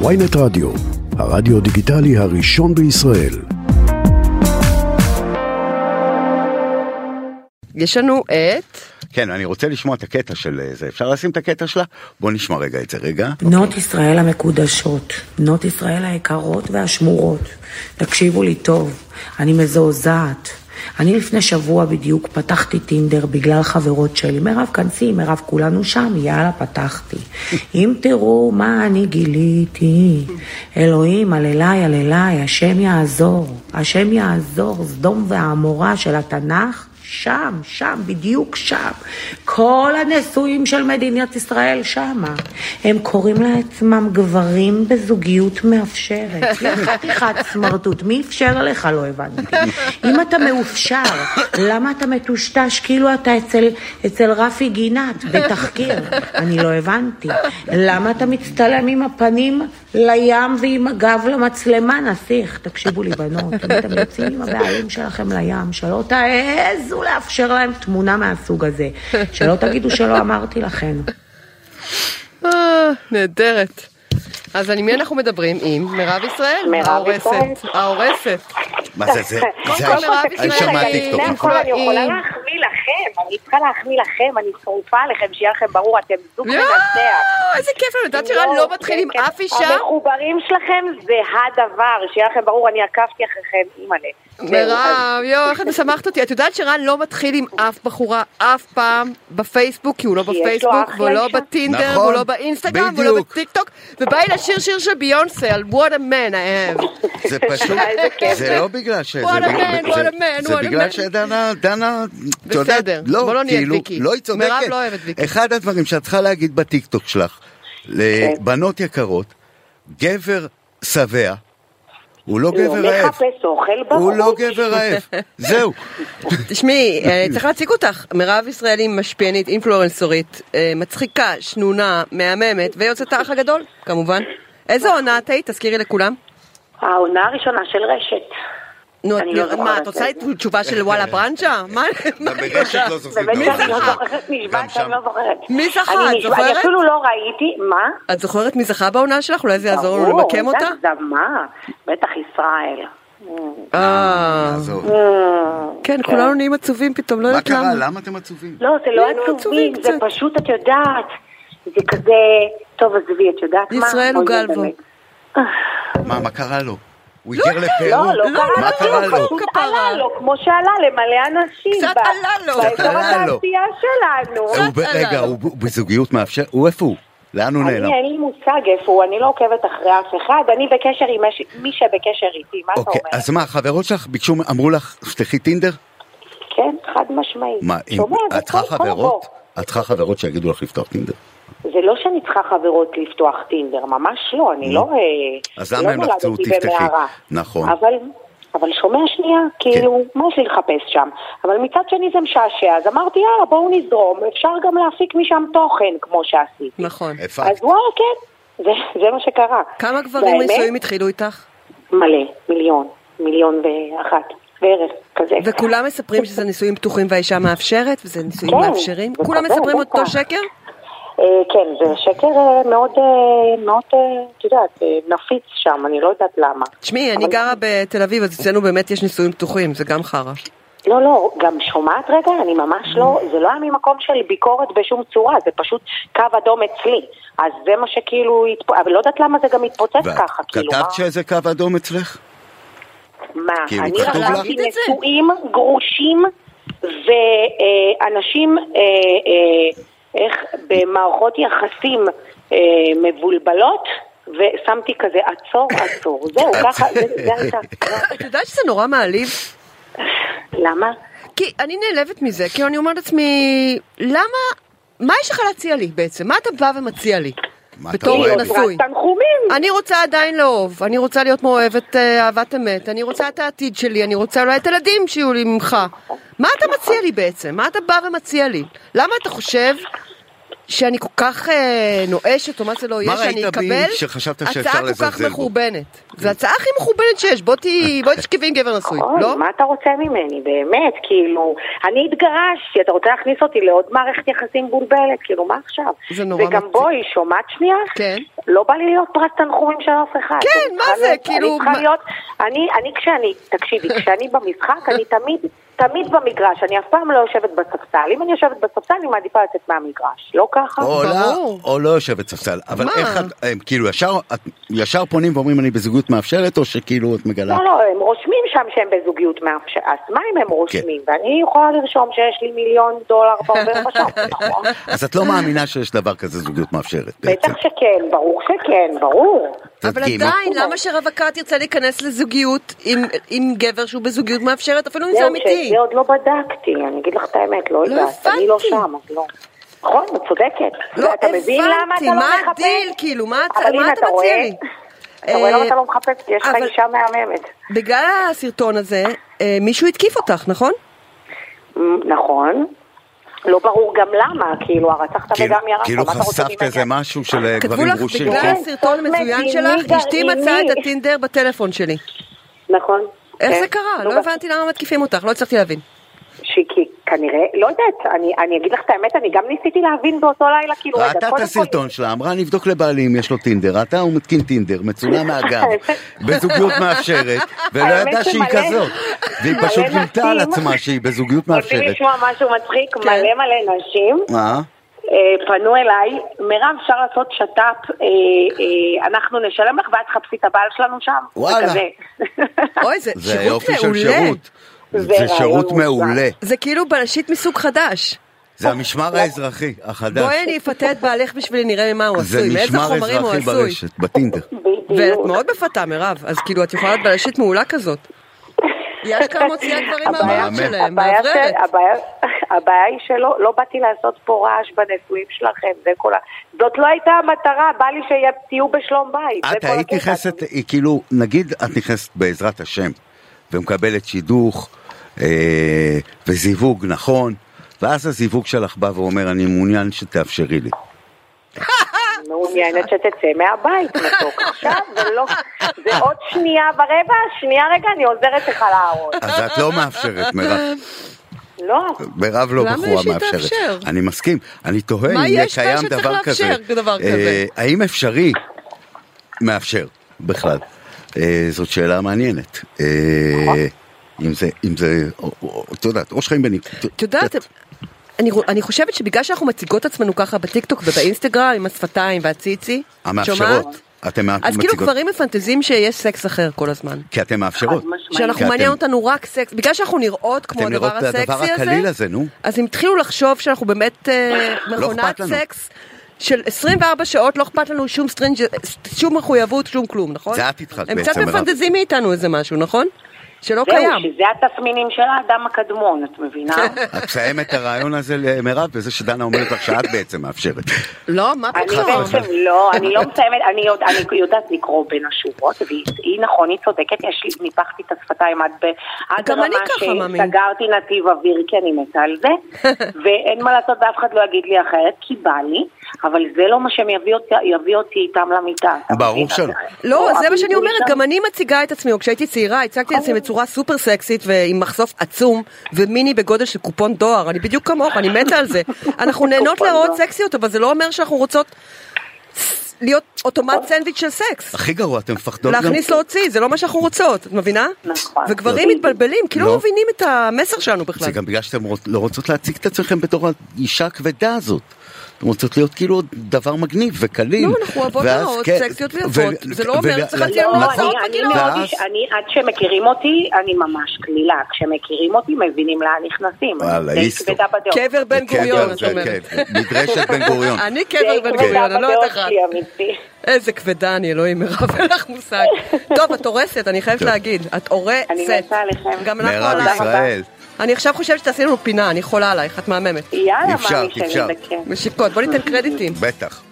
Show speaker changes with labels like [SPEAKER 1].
[SPEAKER 1] ויינט רדיו, הרדיו דיגיטלי הראשון בישראל.
[SPEAKER 2] יש לנו את...
[SPEAKER 3] כן, אני רוצה לשמוע את הקטע של אה, זה. אפשר לשים את הקטע שלה? בוא נשמע רגע את זה. רגע.
[SPEAKER 4] בנות ישראל המקודשות, בנות ישראל היקרות והשמורות, תקשיבו לי טוב, אני מזועזעת. אני לפני שבוע בדיוק פתחתי טינדר בגלל חברות שלי. מירב, כנסי, מירב, כולנו שם, יאללה, פתחתי. אם תראו מה אני גיליתי, אלוהים, על אליי, על אליי, השם יעזור, השם יעזור, סדום ועמורה של התנ"ך. שם, שם, בדיוק שם. כל הנשואים של מדינת ישראל שמה. הם קוראים לעצמם גברים בזוגיות מאפשרת. יא חתיכת סמרטוט, מי אפשר לך? לא הבנתי. אם אתה מאופשר, למה אתה מטושטש כאילו אתה אצל, אצל רפי גינת בתחקיר? אני לא הבנתי. למה אתה מצטלם עם הפנים לים ועם הגב למצלמה, נסיך? תקשיבו לי, בנות, אם אתם יוצאים עם הבעלים שלכם לים, שלא תעזו לאפשר להם תמונה מהסוג הזה. שלא תגידו שלא אמרתי לכם.
[SPEAKER 2] אה, נהדרת. אז על מי אנחנו מדברים? עם מירב ישראל?
[SPEAKER 5] מירב
[SPEAKER 2] ההורסת.
[SPEAKER 5] ישראל.
[SPEAKER 2] ההורסת.
[SPEAKER 3] מה זה זה? זה
[SPEAKER 5] קודם כל,
[SPEAKER 3] ה-
[SPEAKER 5] תקשיבי
[SPEAKER 3] האישה
[SPEAKER 5] רגע, כן,
[SPEAKER 3] מהטיקטוק,
[SPEAKER 5] לפני
[SPEAKER 3] נכון?
[SPEAKER 5] הכל אני יכולה
[SPEAKER 2] אם-
[SPEAKER 5] להחמיא לכם, אני צריכה להחמיא לכם, אני שרופה עליכם, שיהיה לכם ברור, אתם זוג
[SPEAKER 2] יואו,
[SPEAKER 5] מנצח.
[SPEAKER 2] איזה כיף לנו. את יודעת שרן לא מתחיל עם
[SPEAKER 5] כן, כן.
[SPEAKER 2] אף אישה?
[SPEAKER 5] המחוברים שלכם זה הדבר, שיהיה לכם ברור, אני עקבתי אחריכם, אימא'לה. זהו, אז-
[SPEAKER 2] מירב, יואו, איך את משמחת אותי. את יודעת שרן לא מתחיל עם אף בחורה אף פעם בפייסבוק, כי הוא לא
[SPEAKER 5] כי יש לו
[SPEAKER 2] בפייסבוק,
[SPEAKER 5] אחלה
[SPEAKER 2] והוא לא
[SPEAKER 5] אישה.
[SPEAKER 2] בטינדר,
[SPEAKER 3] נכון,
[SPEAKER 2] והוא לא באינסטגרם, והוא לא
[SPEAKER 3] בדיוק.
[SPEAKER 2] בטיקטוק, ובא לי לשיר שיר של ביונסה על What a man I am.
[SPEAKER 3] זה פשוט,
[SPEAKER 5] איזה כיף.
[SPEAKER 3] זה לא בגלל ש...
[SPEAKER 2] What a
[SPEAKER 3] זה-
[SPEAKER 2] man,
[SPEAKER 3] זה-
[SPEAKER 2] what a man,
[SPEAKER 3] זה
[SPEAKER 2] what a
[SPEAKER 3] בגלל
[SPEAKER 2] man.
[SPEAKER 3] שדנה, דנה, את יודעת,
[SPEAKER 2] בסדר,
[SPEAKER 3] לא,
[SPEAKER 2] בוא לא נהיה
[SPEAKER 3] כאילו,
[SPEAKER 2] ויקי.
[SPEAKER 3] לא, היא צודקת.
[SPEAKER 2] מירב לא אוהבת ויקי.
[SPEAKER 3] אחד הדברים שאת צריכה להגיד בטיקטוק שלך, לבנות יקרות, גבר שבע, הוא לא גבר
[SPEAKER 5] לא
[SPEAKER 3] רעב.
[SPEAKER 5] מחפש אוכל בראש.
[SPEAKER 3] הוא לא גבר רעב, זהו.
[SPEAKER 2] תשמעי, אה, צריך להציג אותך. מירב ישראל היא משפיענית, אינפלואנסורית, אה, מצחיקה, שנונה, מהממת, ויוצאת האח הגדול, כמובן. איזה עונה את היית? תזכירי לכולם.
[SPEAKER 5] העונה הראשונה של רשת.
[SPEAKER 2] נו,
[SPEAKER 5] אני
[SPEAKER 2] את-
[SPEAKER 5] לא זוכרת
[SPEAKER 2] מה,
[SPEAKER 5] את
[SPEAKER 2] את רוצה
[SPEAKER 5] זה.
[SPEAKER 2] לי תשובה של וואלה ברנצ'ה? מה- מה-
[SPEAKER 3] גם ברשת לא זוכרים.
[SPEAKER 5] באמת
[SPEAKER 3] גם
[SPEAKER 5] שאני לא
[SPEAKER 3] שם.
[SPEAKER 5] זוכרת,
[SPEAKER 3] גם
[SPEAKER 5] נשבעת
[SPEAKER 3] שם.
[SPEAKER 5] שאני לא זוכרת.
[SPEAKER 2] מי זכה? את
[SPEAKER 5] אני נשבעת, אני
[SPEAKER 2] זוכרת?
[SPEAKER 5] אפילו לא ראיתי, מה?
[SPEAKER 3] לא-
[SPEAKER 2] את זוכרת מי זכה בעונה שלך? אולי זה יעזור לנו
[SPEAKER 5] ברור,
[SPEAKER 2] למקם אותה?
[SPEAKER 5] איזה הגזמה. בטח ישראל.
[SPEAKER 2] אה,
[SPEAKER 3] עזוב.
[SPEAKER 2] כן, כולנו נהיים עצובים פתאום, לא
[SPEAKER 3] מה
[SPEAKER 2] יודעת
[SPEAKER 3] קרה?
[SPEAKER 2] למה.
[SPEAKER 3] למה אתם עצובים?
[SPEAKER 5] לא, זה לא
[SPEAKER 2] היינו
[SPEAKER 5] עצובים,
[SPEAKER 2] עצובים
[SPEAKER 5] זה
[SPEAKER 2] קצת.
[SPEAKER 5] פשוט, את יודעת, זה כזה, טוב, עזבי, את יודעת מה?
[SPEAKER 2] ישראל הוא
[SPEAKER 5] בואי
[SPEAKER 2] גלבו.
[SPEAKER 5] באמת.
[SPEAKER 3] מה, מה קרה לו? הוא היגר לפרו?
[SPEAKER 5] לא, לא
[SPEAKER 2] לא,
[SPEAKER 5] קרה
[SPEAKER 3] מה
[SPEAKER 5] לו
[SPEAKER 3] קרה
[SPEAKER 5] כלום,
[SPEAKER 3] לו?
[SPEAKER 5] פשוט
[SPEAKER 2] כפרה.
[SPEAKER 5] עלה לו, כמו שעלה למלא אנשים.
[SPEAKER 2] קצת
[SPEAKER 5] ב-
[SPEAKER 2] עלה לו. אה,
[SPEAKER 3] קצת
[SPEAKER 5] באזור
[SPEAKER 3] עלה לו.
[SPEAKER 5] התעשייה שלנו.
[SPEAKER 3] הוא ב- רגע, הוא הוא בזוגיות מאפשר? הוא איפה הוא? לאן הוא נעלם?
[SPEAKER 5] אני, אין לי מושג איפה הוא, אני לא עוקבת אחרי אף אחד, אני בקשר עם מש- מי שבקשר איתי, מה אתה
[SPEAKER 3] אוקיי,
[SPEAKER 5] אומר?
[SPEAKER 3] אז מה, החברות שלך ביקשו, אמרו לך, שתחי טינדר?
[SPEAKER 5] כן, חד משמעית.
[SPEAKER 3] מה, אם-
[SPEAKER 5] שומע, זה
[SPEAKER 3] את צריכה
[SPEAKER 5] כל- כל
[SPEAKER 3] חברות?
[SPEAKER 5] בוא.
[SPEAKER 3] את צריכה חברות שיגידו לך לפתוח טינדר?
[SPEAKER 5] זה לא שאני צריכה חברות לפתוח טינדר, ממש לא, אני לא... אה,
[SPEAKER 3] אז למה
[SPEAKER 5] לא
[SPEAKER 3] הם לחצו,
[SPEAKER 5] נולדתי
[SPEAKER 3] תפתחי.
[SPEAKER 5] במערה.
[SPEAKER 3] נכון. כן.
[SPEAKER 5] אבל, אבל שומע שנייה, כאילו, מה יש לי לחפש שם? אבל מצד שני זה משעשע, אז אמרתי, יאללה, בואו נזרום, אפשר גם להפיק משם תוכן, כמו שעשיתי.
[SPEAKER 2] נכון.
[SPEAKER 3] הפקת.
[SPEAKER 5] אז וואלה, כן, זה, זה מה שקרה.
[SPEAKER 2] כמה גברים
[SPEAKER 5] והאמת,
[SPEAKER 2] נשואים התחילו איתך?
[SPEAKER 5] מלא, מיליון, מיליון ואחת, בערך, כזה.
[SPEAKER 2] וכולם מספרים שזה נישואים פתוחים והאישה מאפשרת, וזה נישואים
[SPEAKER 5] כן,
[SPEAKER 2] מאפשרים?
[SPEAKER 5] זה
[SPEAKER 2] כולם
[SPEAKER 5] כזה,
[SPEAKER 2] מספרים
[SPEAKER 5] בטח.
[SPEAKER 2] אותו שקר?
[SPEAKER 5] אה, כן, זה שקר אה, מאוד, אה, מאוד, אה, את יודעת, אה, נפיץ שם, אני לא יודעת למה.
[SPEAKER 2] תשמעי, אני
[SPEAKER 5] אבל-
[SPEAKER 2] גרה בתל אביב, אז אצלנו באמת יש נישואים פתוחים, זה גם חרא.
[SPEAKER 5] לא, לא, גם שומעת רגע, אני ממש לא,
[SPEAKER 3] Mm.
[SPEAKER 5] זה לא היה ממקום של ביקורת בשום צורה, זה פשוט קו אדום אצלי. אז זה מה שכאילו, התפ- אבל לא יודעת למה זה גם התפוצץ
[SPEAKER 3] ואת
[SPEAKER 5] ככה, כאילו,
[SPEAKER 3] כתבת
[SPEAKER 5] מה-
[SPEAKER 3] שזה קו אדום אצלך?
[SPEAKER 5] מה,
[SPEAKER 3] כאילו,
[SPEAKER 5] אני
[SPEAKER 3] כתוב לך?
[SPEAKER 5] ראיתי
[SPEAKER 2] להגיד את זה?
[SPEAKER 5] נשואים, גרושים ואנשים, אה, איך, במערכות יחסים אה, מבולבלות, ושמתי כזה עצור, עצור, זהו, ככה, זה זה הייתה,
[SPEAKER 2] את יודעת שזה נורא מעליב?
[SPEAKER 5] למה?
[SPEAKER 2] כי אני נעלבת מזה, כי אני אומרת לעצמי, למה, מה יש לך להציע לי בעצם? מה אתה בא ומציע לי?
[SPEAKER 3] מה, אתה
[SPEAKER 2] בתור
[SPEAKER 3] אוהב?
[SPEAKER 2] נשוי.
[SPEAKER 5] תנחומים.
[SPEAKER 2] אני רוצה עדיין לאהוב, אני רוצה להיות מאוהבת אה, אהבת אמת, אני רוצה את העתיד שלי, אני רוצה אולי את הילדים שיהיו לי ממך. מה אתה מציע לי בעצם? מה אתה בא ומציע לי? למה אתה חושב שאני כל כך אה, נואשת, או מה זה לא יהיה, שאני
[SPEAKER 3] ראית בי
[SPEAKER 2] אקבל
[SPEAKER 3] שחשבת
[SPEAKER 2] הצעה
[SPEAKER 3] שאפשר
[SPEAKER 2] כל כך
[SPEAKER 3] לזלזל בו? כן.
[SPEAKER 2] מחורבנת. זו הצעה הכי מחורבנת שיש, בוא תהיי- בואי תשכבי עם גבר נשוי,
[SPEAKER 5] אוי,
[SPEAKER 2] לא?
[SPEAKER 5] נכון, מה אתה רוצה ממני, באמת, כאילו, אני התגרשתי, אתה רוצה להכניס אותי לעוד מערכת יחסים מבולבלת, כאילו, מה עכשיו?
[SPEAKER 2] זה נורא
[SPEAKER 5] וגם
[SPEAKER 2] מצחיק.
[SPEAKER 5] בואי, שומעת שנייה?
[SPEAKER 2] כן.
[SPEAKER 5] לא בא לי להיות פרס תנחומים של אף אחד.
[SPEAKER 2] כן,
[SPEAKER 5] אני
[SPEAKER 2] מה
[SPEAKER 5] צריכה
[SPEAKER 2] זה,
[SPEAKER 5] להיות-
[SPEAKER 2] כאילו,
[SPEAKER 5] אני צריכה
[SPEAKER 2] מה-
[SPEAKER 5] להיות, אני, אני כשאני, תקשיבי, כשאני במשחק, אני תמיד, תמיד במגרש, אני אף פעם לא יושבת בספסל. אם אני יושבת בספסל, אני מעדיפה לצאת מהמגרש, לא ככה?
[SPEAKER 3] או עולה,
[SPEAKER 2] ברור.
[SPEAKER 3] או לא יושבת ספסל. אבל
[SPEAKER 2] מה?
[SPEAKER 3] איך את, הם כאילו ישר, את ישר פונים ואומרים אני בזוגיות מאפשרת, או שכאילו את מגלה?
[SPEAKER 5] לא, לא, הם רושמים שם שהם בזוגיות מאפשר. אז מה אם
[SPEAKER 2] כן.
[SPEAKER 5] הם רושמים? ואני יכולה לרשום שיש לי מיליון דולר בעובר ושב, נכון?
[SPEAKER 3] אז את לא מאמינה שיש דבר כזה זוגיות מאפשרת בעצם.
[SPEAKER 5] בטח שכן, ברור שכן, ברור.
[SPEAKER 2] אבל
[SPEAKER 3] תדגימו.
[SPEAKER 2] עדיין, למה שרווקה תרצה להיכנס לזוגיות עם- עם גבר שהוא בזוגיות מאפשרת, אפילו אם זה
[SPEAKER 5] זהו,
[SPEAKER 2] אמיתי?
[SPEAKER 5] שזה עוד לא בדקתי, אני אגיד לך את האמת, לא יודעת.
[SPEAKER 2] הבנתי.
[SPEAKER 5] אני לא שם, אז לא. נכון, את צודקת.
[SPEAKER 2] לא
[SPEAKER 5] אתה מבין למה אתה
[SPEAKER 2] הבנתי,
[SPEAKER 5] לא
[SPEAKER 2] מה
[SPEAKER 5] מחפש?
[SPEAKER 2] הדיל, כאילו, מה אתה
[SPEAKER 5] אבל הנה,
[SPEAKER 2] מה אתה מציע
[SPEAKER 5] רואה?
[SPEAKER 2] לי?
[SPEAKER 5] אתה רואה למה אתה
[SPEAKER 2] אה,
[SPEAKER 5] לא מחפש? כי יש לך
[SPEAKER 2] אבל-
[SPEAKER 5] אישה מהממת.
[SPEAKER 2] בגלל הסרטון הזה, אה, מישהו התקיף אותך, נכון?
[SPEAKER 5] מ, נכון. לא ברור גם למה, כאילו, הרצחת
[SPEAKER 3] כאילו,
[SPEAKER 5] וגם ירדת.
[SPEAKER 3] כאילו
[SPEAKER 5] מה אתה רוצה
[SPEAKER 3] חשפת
[SPEAKER 5] ממני?
[SPEAKER 3] איזה משהו של אה,
[SPEAKER 2] כתבו
[SPEAKER 3] גברים
[SPEAKER 2] לך
[SPEAKER 3] גרושים,
[SPEAKER 2] בגלל
[SPEAKER 3] כן?
[SPEAKER 5] כן.
[SPEAKER 2] הסרטון
[SPEAKER 5] סוד
[SPEAKER 2] המזוין
[SPEAKER 5] מדיני
[SPEAKER 2] שלך, אשתי
[SPEAKER 5] גרעיני.
[SPEAKER 2] מצאה את הטינדר בטלפון שלי.
[SPEAKER 5] נכון.
[SPEAKER 2] איך
[SPEAKER 5] כן.
[SPEAKER 2] זה קרה?
[SPEAKER 5] נו,
[SPEAKER 2] לא הבנתי למה מתקיפים אותך, לא הצלחתי להבין.
[SPEAKER 5] שכי כנראה, לא יודעת, אני, אני אגיד לך את האמת, אני גם ניסיתי להבין באותו לילה, כאילו, רגע,
[SPEAKER 3] ראתה את
[SPEAKER 5] קודם כל-
[SPEAKER 3] הסרטון שלה, אמרה נבדוק לבעלי אם יש לו טינדר, ראתה הוא מתקין טינדר, מצולם מהגב, בזוגיות מאפשרת, ולא
[SPEAKER 5] האמת
[SPEAKER 3] ידעה שהיא
[SPEAKER 5] שמלא-
[SPEAKER 3] כזאת, והיא פשוט
[SPEAKER 5] מלא
[SPEAKER 3] גילתה על
[SPEAKER 5] נשים.
[SPEAKER 3] עצמה שהיא בזוגיות
[SPEAKER 5] רוצים
[SPEAKER 3] מאפשרת.
[SPEAKER 5] לשמוע משהו מצחיק?
[SPEAKER 2] כן.
[SPEAKER 5] מלא מלא נשים
[SPEAKER 3] מה?
[SPEAKER 5] אה, פנו אליי, מירב, אפשר לעשות שת"פ, אה, אה, אנחנו נשלם לך ואת תחפשי את הבעל שלנו שם.
[SPEAKER 3] וואלה.
[SPEAKER 5] וכזה.
[SPEAKER 2] אוי, זה
[SPEAKER 3] זה
[SPEAKER 2] שירות
[SPEAKER 3] יופי של
[SPEAKER 2] מעולה.
[SPEAKER 3] שירות.
[SPEAKER 5] זה
[SPEAKER 3] זה שירות
[SPEAKER 5] רעיון מוצלח.
[SPEAKER 3] מעולה.
[SPEAKER 2] זה כאילו בלשית מסוג חדש.
[SPEAKER 3] זה
[SPEAKER 5] לא-
[SPEAKER 3] המשמר האזרחי החדש.
[SPEAKER 2] בואי אני אפתה את בעלך בשבילי, נראה ממה הוא
[SPEAKER 3] זה
[SPEAKER 2] עשוי, מאיזה
[SPEAKER 3] משמר
[SPEAKER 2] חומרים הוא
[SPEAKER 3] אזרחי
[SPEAKER 2] עשוי.
[SPEAKER 3] ברשת, בטינדר.
[SPEAKER 2] ואת
[SPEAKER 5] בדיוק.
[SPEAKER 2] מאוד מפתה, מירב, אז כאילו, את יכולה להיות בלשית מעולה כזאת. היא אשכרה מוציאה דברים
[SPEAKER 5] הבעיה-
[SPEAKER 2] מהבעיות שלהם,
[SPEAKER 5] הבעיה של-
[SPEAKER 2] מאווררת.
[SPEAKER 5] הבעיה- הבעיה היא שלא לא באתי לעשות פה רעש בנישואים שלכם, זה כל ה... זאת לא הייתה המטרה, בא לי שתהיו בשלום בית. זה
[SPEAKER 3] את
[SPEAKER 5] כל
[SPEAKER 3] היית
[SPEAKER 5] הקטע.
[SPEAKER 3] נכנסת, היא כאילו, נגיד את נכנסת בעזרת השם, ומקבלת שידוך אה, וזיווג נכון, ואז הזיווג שלך בא ואומר, אני מעוניין שתאפשרי לי.
[SPEAKER 5] מעוניינת שתצא מהבית, מתוק. עכשיו, זה לא... זה עוד שנייה ורבע, שנייה רגע, אני עוזרת לך לארון.
[SPEAKER 3] אז את לא מאפשרת, מירב.
[SPEAKER 5] לא,
[SPEAKER 3] מירב לא
[SPEAKER 2] למה
[SPEAKER 3] בחורה
[SPEAKER 2] יש לי
[SPEAKER 3] מאפשרת.
[SPEAKER 2] תאפשר?
[SPEAKER 3] אני מסכים. אני תוהה
[SPEAKER 2] מה
[SPEAKER 3] אם יהיה
[SPEAKER 2] יש בה
[SPEAKER 3] קיים
[SPEAKER 2] שצריך
[SPEAKER 3] דבר כזה.
[SPEAKER 2] לאפשר דבר
[SPEAKER 3] אה,
[SPEAKER 2] כזה?
[SPEAKER 3] האם אפשרי מאפשר בכלל? אה, זאת שאלה מעניינת. אה, אם זה, אם זה, או- או- את יודעת, ראש חיים בניק.
[SPEAKER 2] את יודעת, אני, רוא- אני חושבת שבגלל שאנחנו מציגות עצמנו ככה בטיקטוק ובאינסטגרם עם השפתיים והציצי, את
[SPEAKER 3] המאפשרות.
[SPEAKER 2] שומעת?
[SPEAKER 3] אתם מציגות.
[SPEAKER 2] אז כאילו גברים מפנטזים שיש סקס אחר כל הזמן.
[SPEAKER 3] כי אתם מאפשרות.
[SPEAKER 5] חד משמעית.
[SPEAKER 2] שאנחנו
[SPEAKER 3] כי
[SPEAKER 2] מעניין
[SPEAKER 3] אתם-
[SPEAKER 2] אותנו רק סקס, בגלל שאנחנו נראות כמו
[SPEAKER 3] אתם
[SPEAKER 2] הדבר
[SPEAKER 3] נראות את
[SPEAKER 2] הסקסי
[SPEAKER 3] הדבר
[SPEAKER 2] הזה,
[SPEAKER 3] הקליל הזה, נו.
[SPEAKER 2] אז הם התחילו לחשוב שאנחנו באמת אה,
[SPEAKER 3] לא
[SPEAKER 2] מכונת
[SPEAKER 3] אכפת לנו.
[SPEAKER 2] סקס של 24 שעות, לא אכפת לנו שום סטרינג', שום מחויבות, שום כלום, נכון?
[SPEAKER 3] זה את התחלת
[SPEAKER 2] הם
[SPEAKER 3] בעצם,
[SPEAKER 2] קצת
[SPEAKER 3] מירב.
[SPEAKER 2] מפנטזים מאיתנו איזה משהו, נכון? שלא
[SPEAKER 5] זהו,
[SPEAKER 2] קיים.
[SPEAKER 5] שזה התסמינים של האדם הקדמון, את מבינה?
[SPEAKER 3] את מסיימת את הרעיון הזה למירב בזה שדנה אומרת לך שאת בעצם מאפשרת.
[SPEAKER 2] לא, מה
[SPEAKER 5] אני
[SPEAKER 2] פתאום?
[SPEAKER 5] בעצם לא, אני לא מסיימת, אני, יודע, אני יודעת לקרוא בין השורות, והיא היא נכון, היא צודקת, יש לי, ניפחתי את השפתיים עד, ב, עד
[SPEAKER 2] גם אני
[SPEAKER 5] ברמה
[SPEAKER 2] ככה, מאמי.
[SPEAKER 5] שסגרתי נתיב אוויר כי אני מתה על זה, ואין מה לעשות ואף אחד לא יגיד לי אחרת, כי בא לי, אבל זה לא מה שהם יביא אותי, יביא אותי איתם למיטה. אתה
[SPEAKER 3] ברור
[SPEAKER 5] מבין?
[SPEAKER 3] שלא.
[SPEAKER 2] לא, זה מה
[SPEAKER 5] אבל
[SPEAKER 2] שאני
[SPEAKER 5] הוא
[SPEAKER 2] אומרת,
[SPEAKER 5] איתם.
[SPEAKER 2] גם אני מציגה את עצמי, או כשהייתי צעירה, הצגתי את עצמי בצורה סופר סקסית ועם מחשוף עצום ומיני בגודל של קופון דואר, אני בדיוק כמוך, אני מתה על זה. אנחנו נהנות
[SPEAKER 5] קופון
[SPEAKER 2] להראות
[SPEAKER 5] דואר.
[SPEAKER 2] סקסיות, אבל זה לא אומר שאנחנו רוצות להיות אוטומט
[SPEAKER 5] אוקיי.
[SPEAKER 2] סנדוויץ' של
[SPEAKER 5] נכון.
[SPEAKER 2] סקס.
[SPEAKER 3] הכי גרוע, אתם מפחדות גם...
[SPEAKER 2] להכניס להוציא, זה לא מה שאנחנו רוצות, את מבינה?
[SPEAKER 5] נכון.
[SPEAKER 2] וגברים
[SPEAKER 5] לא.
[SPEAKER 2] מתבלבלים, כאילו
[SPEAKER 3] לא.
[SPEAKER 2] לא מבינים את המסר שלנו בכלל.
[SPEAKER 3] זה גם בגלל שאתם רוצ- לא רוצות להציג את עצמכם בתור האישה הכבדה הזאת. אתם רוצות להיות כאילו דבר מגניב וקליל.
[SPEAKER 2] לא, אנחנו אוהבות
[SPEAKER 3] ואז
[SPEAKER 2] נוראות,
[SPEAKER 3] כן,
[SPEAKER 2] סקסיות
[SPEAKER 3] ו-
[SPEAKER 2] ויפות.
[SPEAKER 3] ו-
[SPEAKER 2] זה לא כאילו אומר
[SPEAKER 3] ו-
[SPEAKER 2] שצריך להיות
[SPEAKER 5] לא,
[SPEAKER 2] מצות
[SPEAKER 5] אני- אני
[SPEAKER 2] בגילאות.
[SPEAKER 5] מאוד
[SPEAKER 3] נכון. ואז-
[SPEAKER 5] איש- אני, עד שמכירים אותי, אני ממש קלילה. כשמכירים אותי, מבינים לאן נכנסים.
[SPEAKER 3] וואלה,
[SPEAKER 5] אני די
[SPEAKER 3] איסטו.
[SPEAKER 5] כבדה בדעות.
[SPEAKER 2] קבר בן
[SPEAKER 3] כן,
[SPEAKER 2] גוריון,
[SPEAKER 3] כן,
[SPEAKER 2] את אומרת.
[SPEAKER 3] כן, מדרשת בן גוריון.
[SPEAKER 2] אני קבר
[SPEAKER 5] די
[SPEAKER 2] בן
[SPEAKER 5] כבדה
[SPEAKER 2] גוריון, אני לא יודעת
[SPEAKER 5] בדעות
[SPEAKER 2] אחת.
[SPEAKER 5] שלי, אמיתי.
[SPEAKER 2] איזה כבדה אני, אלוהים, מירב, אין לך מושג. טוב, את הורסת, אני חייבת להגיד. את הורסת.
[SPEAKER 5] אני מתה עליכם.
[SPEAKER 2] גם אנחנו
[SPEAKER 3] מירב
[SPEAKER 2] עלייך.
[SPEAKER 3] ישראל.
[SPEAKER 2] אני עכשיו חושבת שתעשי לנו פינה, אני חולה עלייך, את מהממת.
[SPEAKER 5] יאללה,
[SPEAKER 3] אפשר,
[SPEAKER 5] מאמי שלי,
[SPEAKER 3] אפשר.
[SPEAKER 5] בכיף.
[SPEAKER 2] משיקות, בוא ניתן קרדיטים.
[SPEAKER 3] בטח.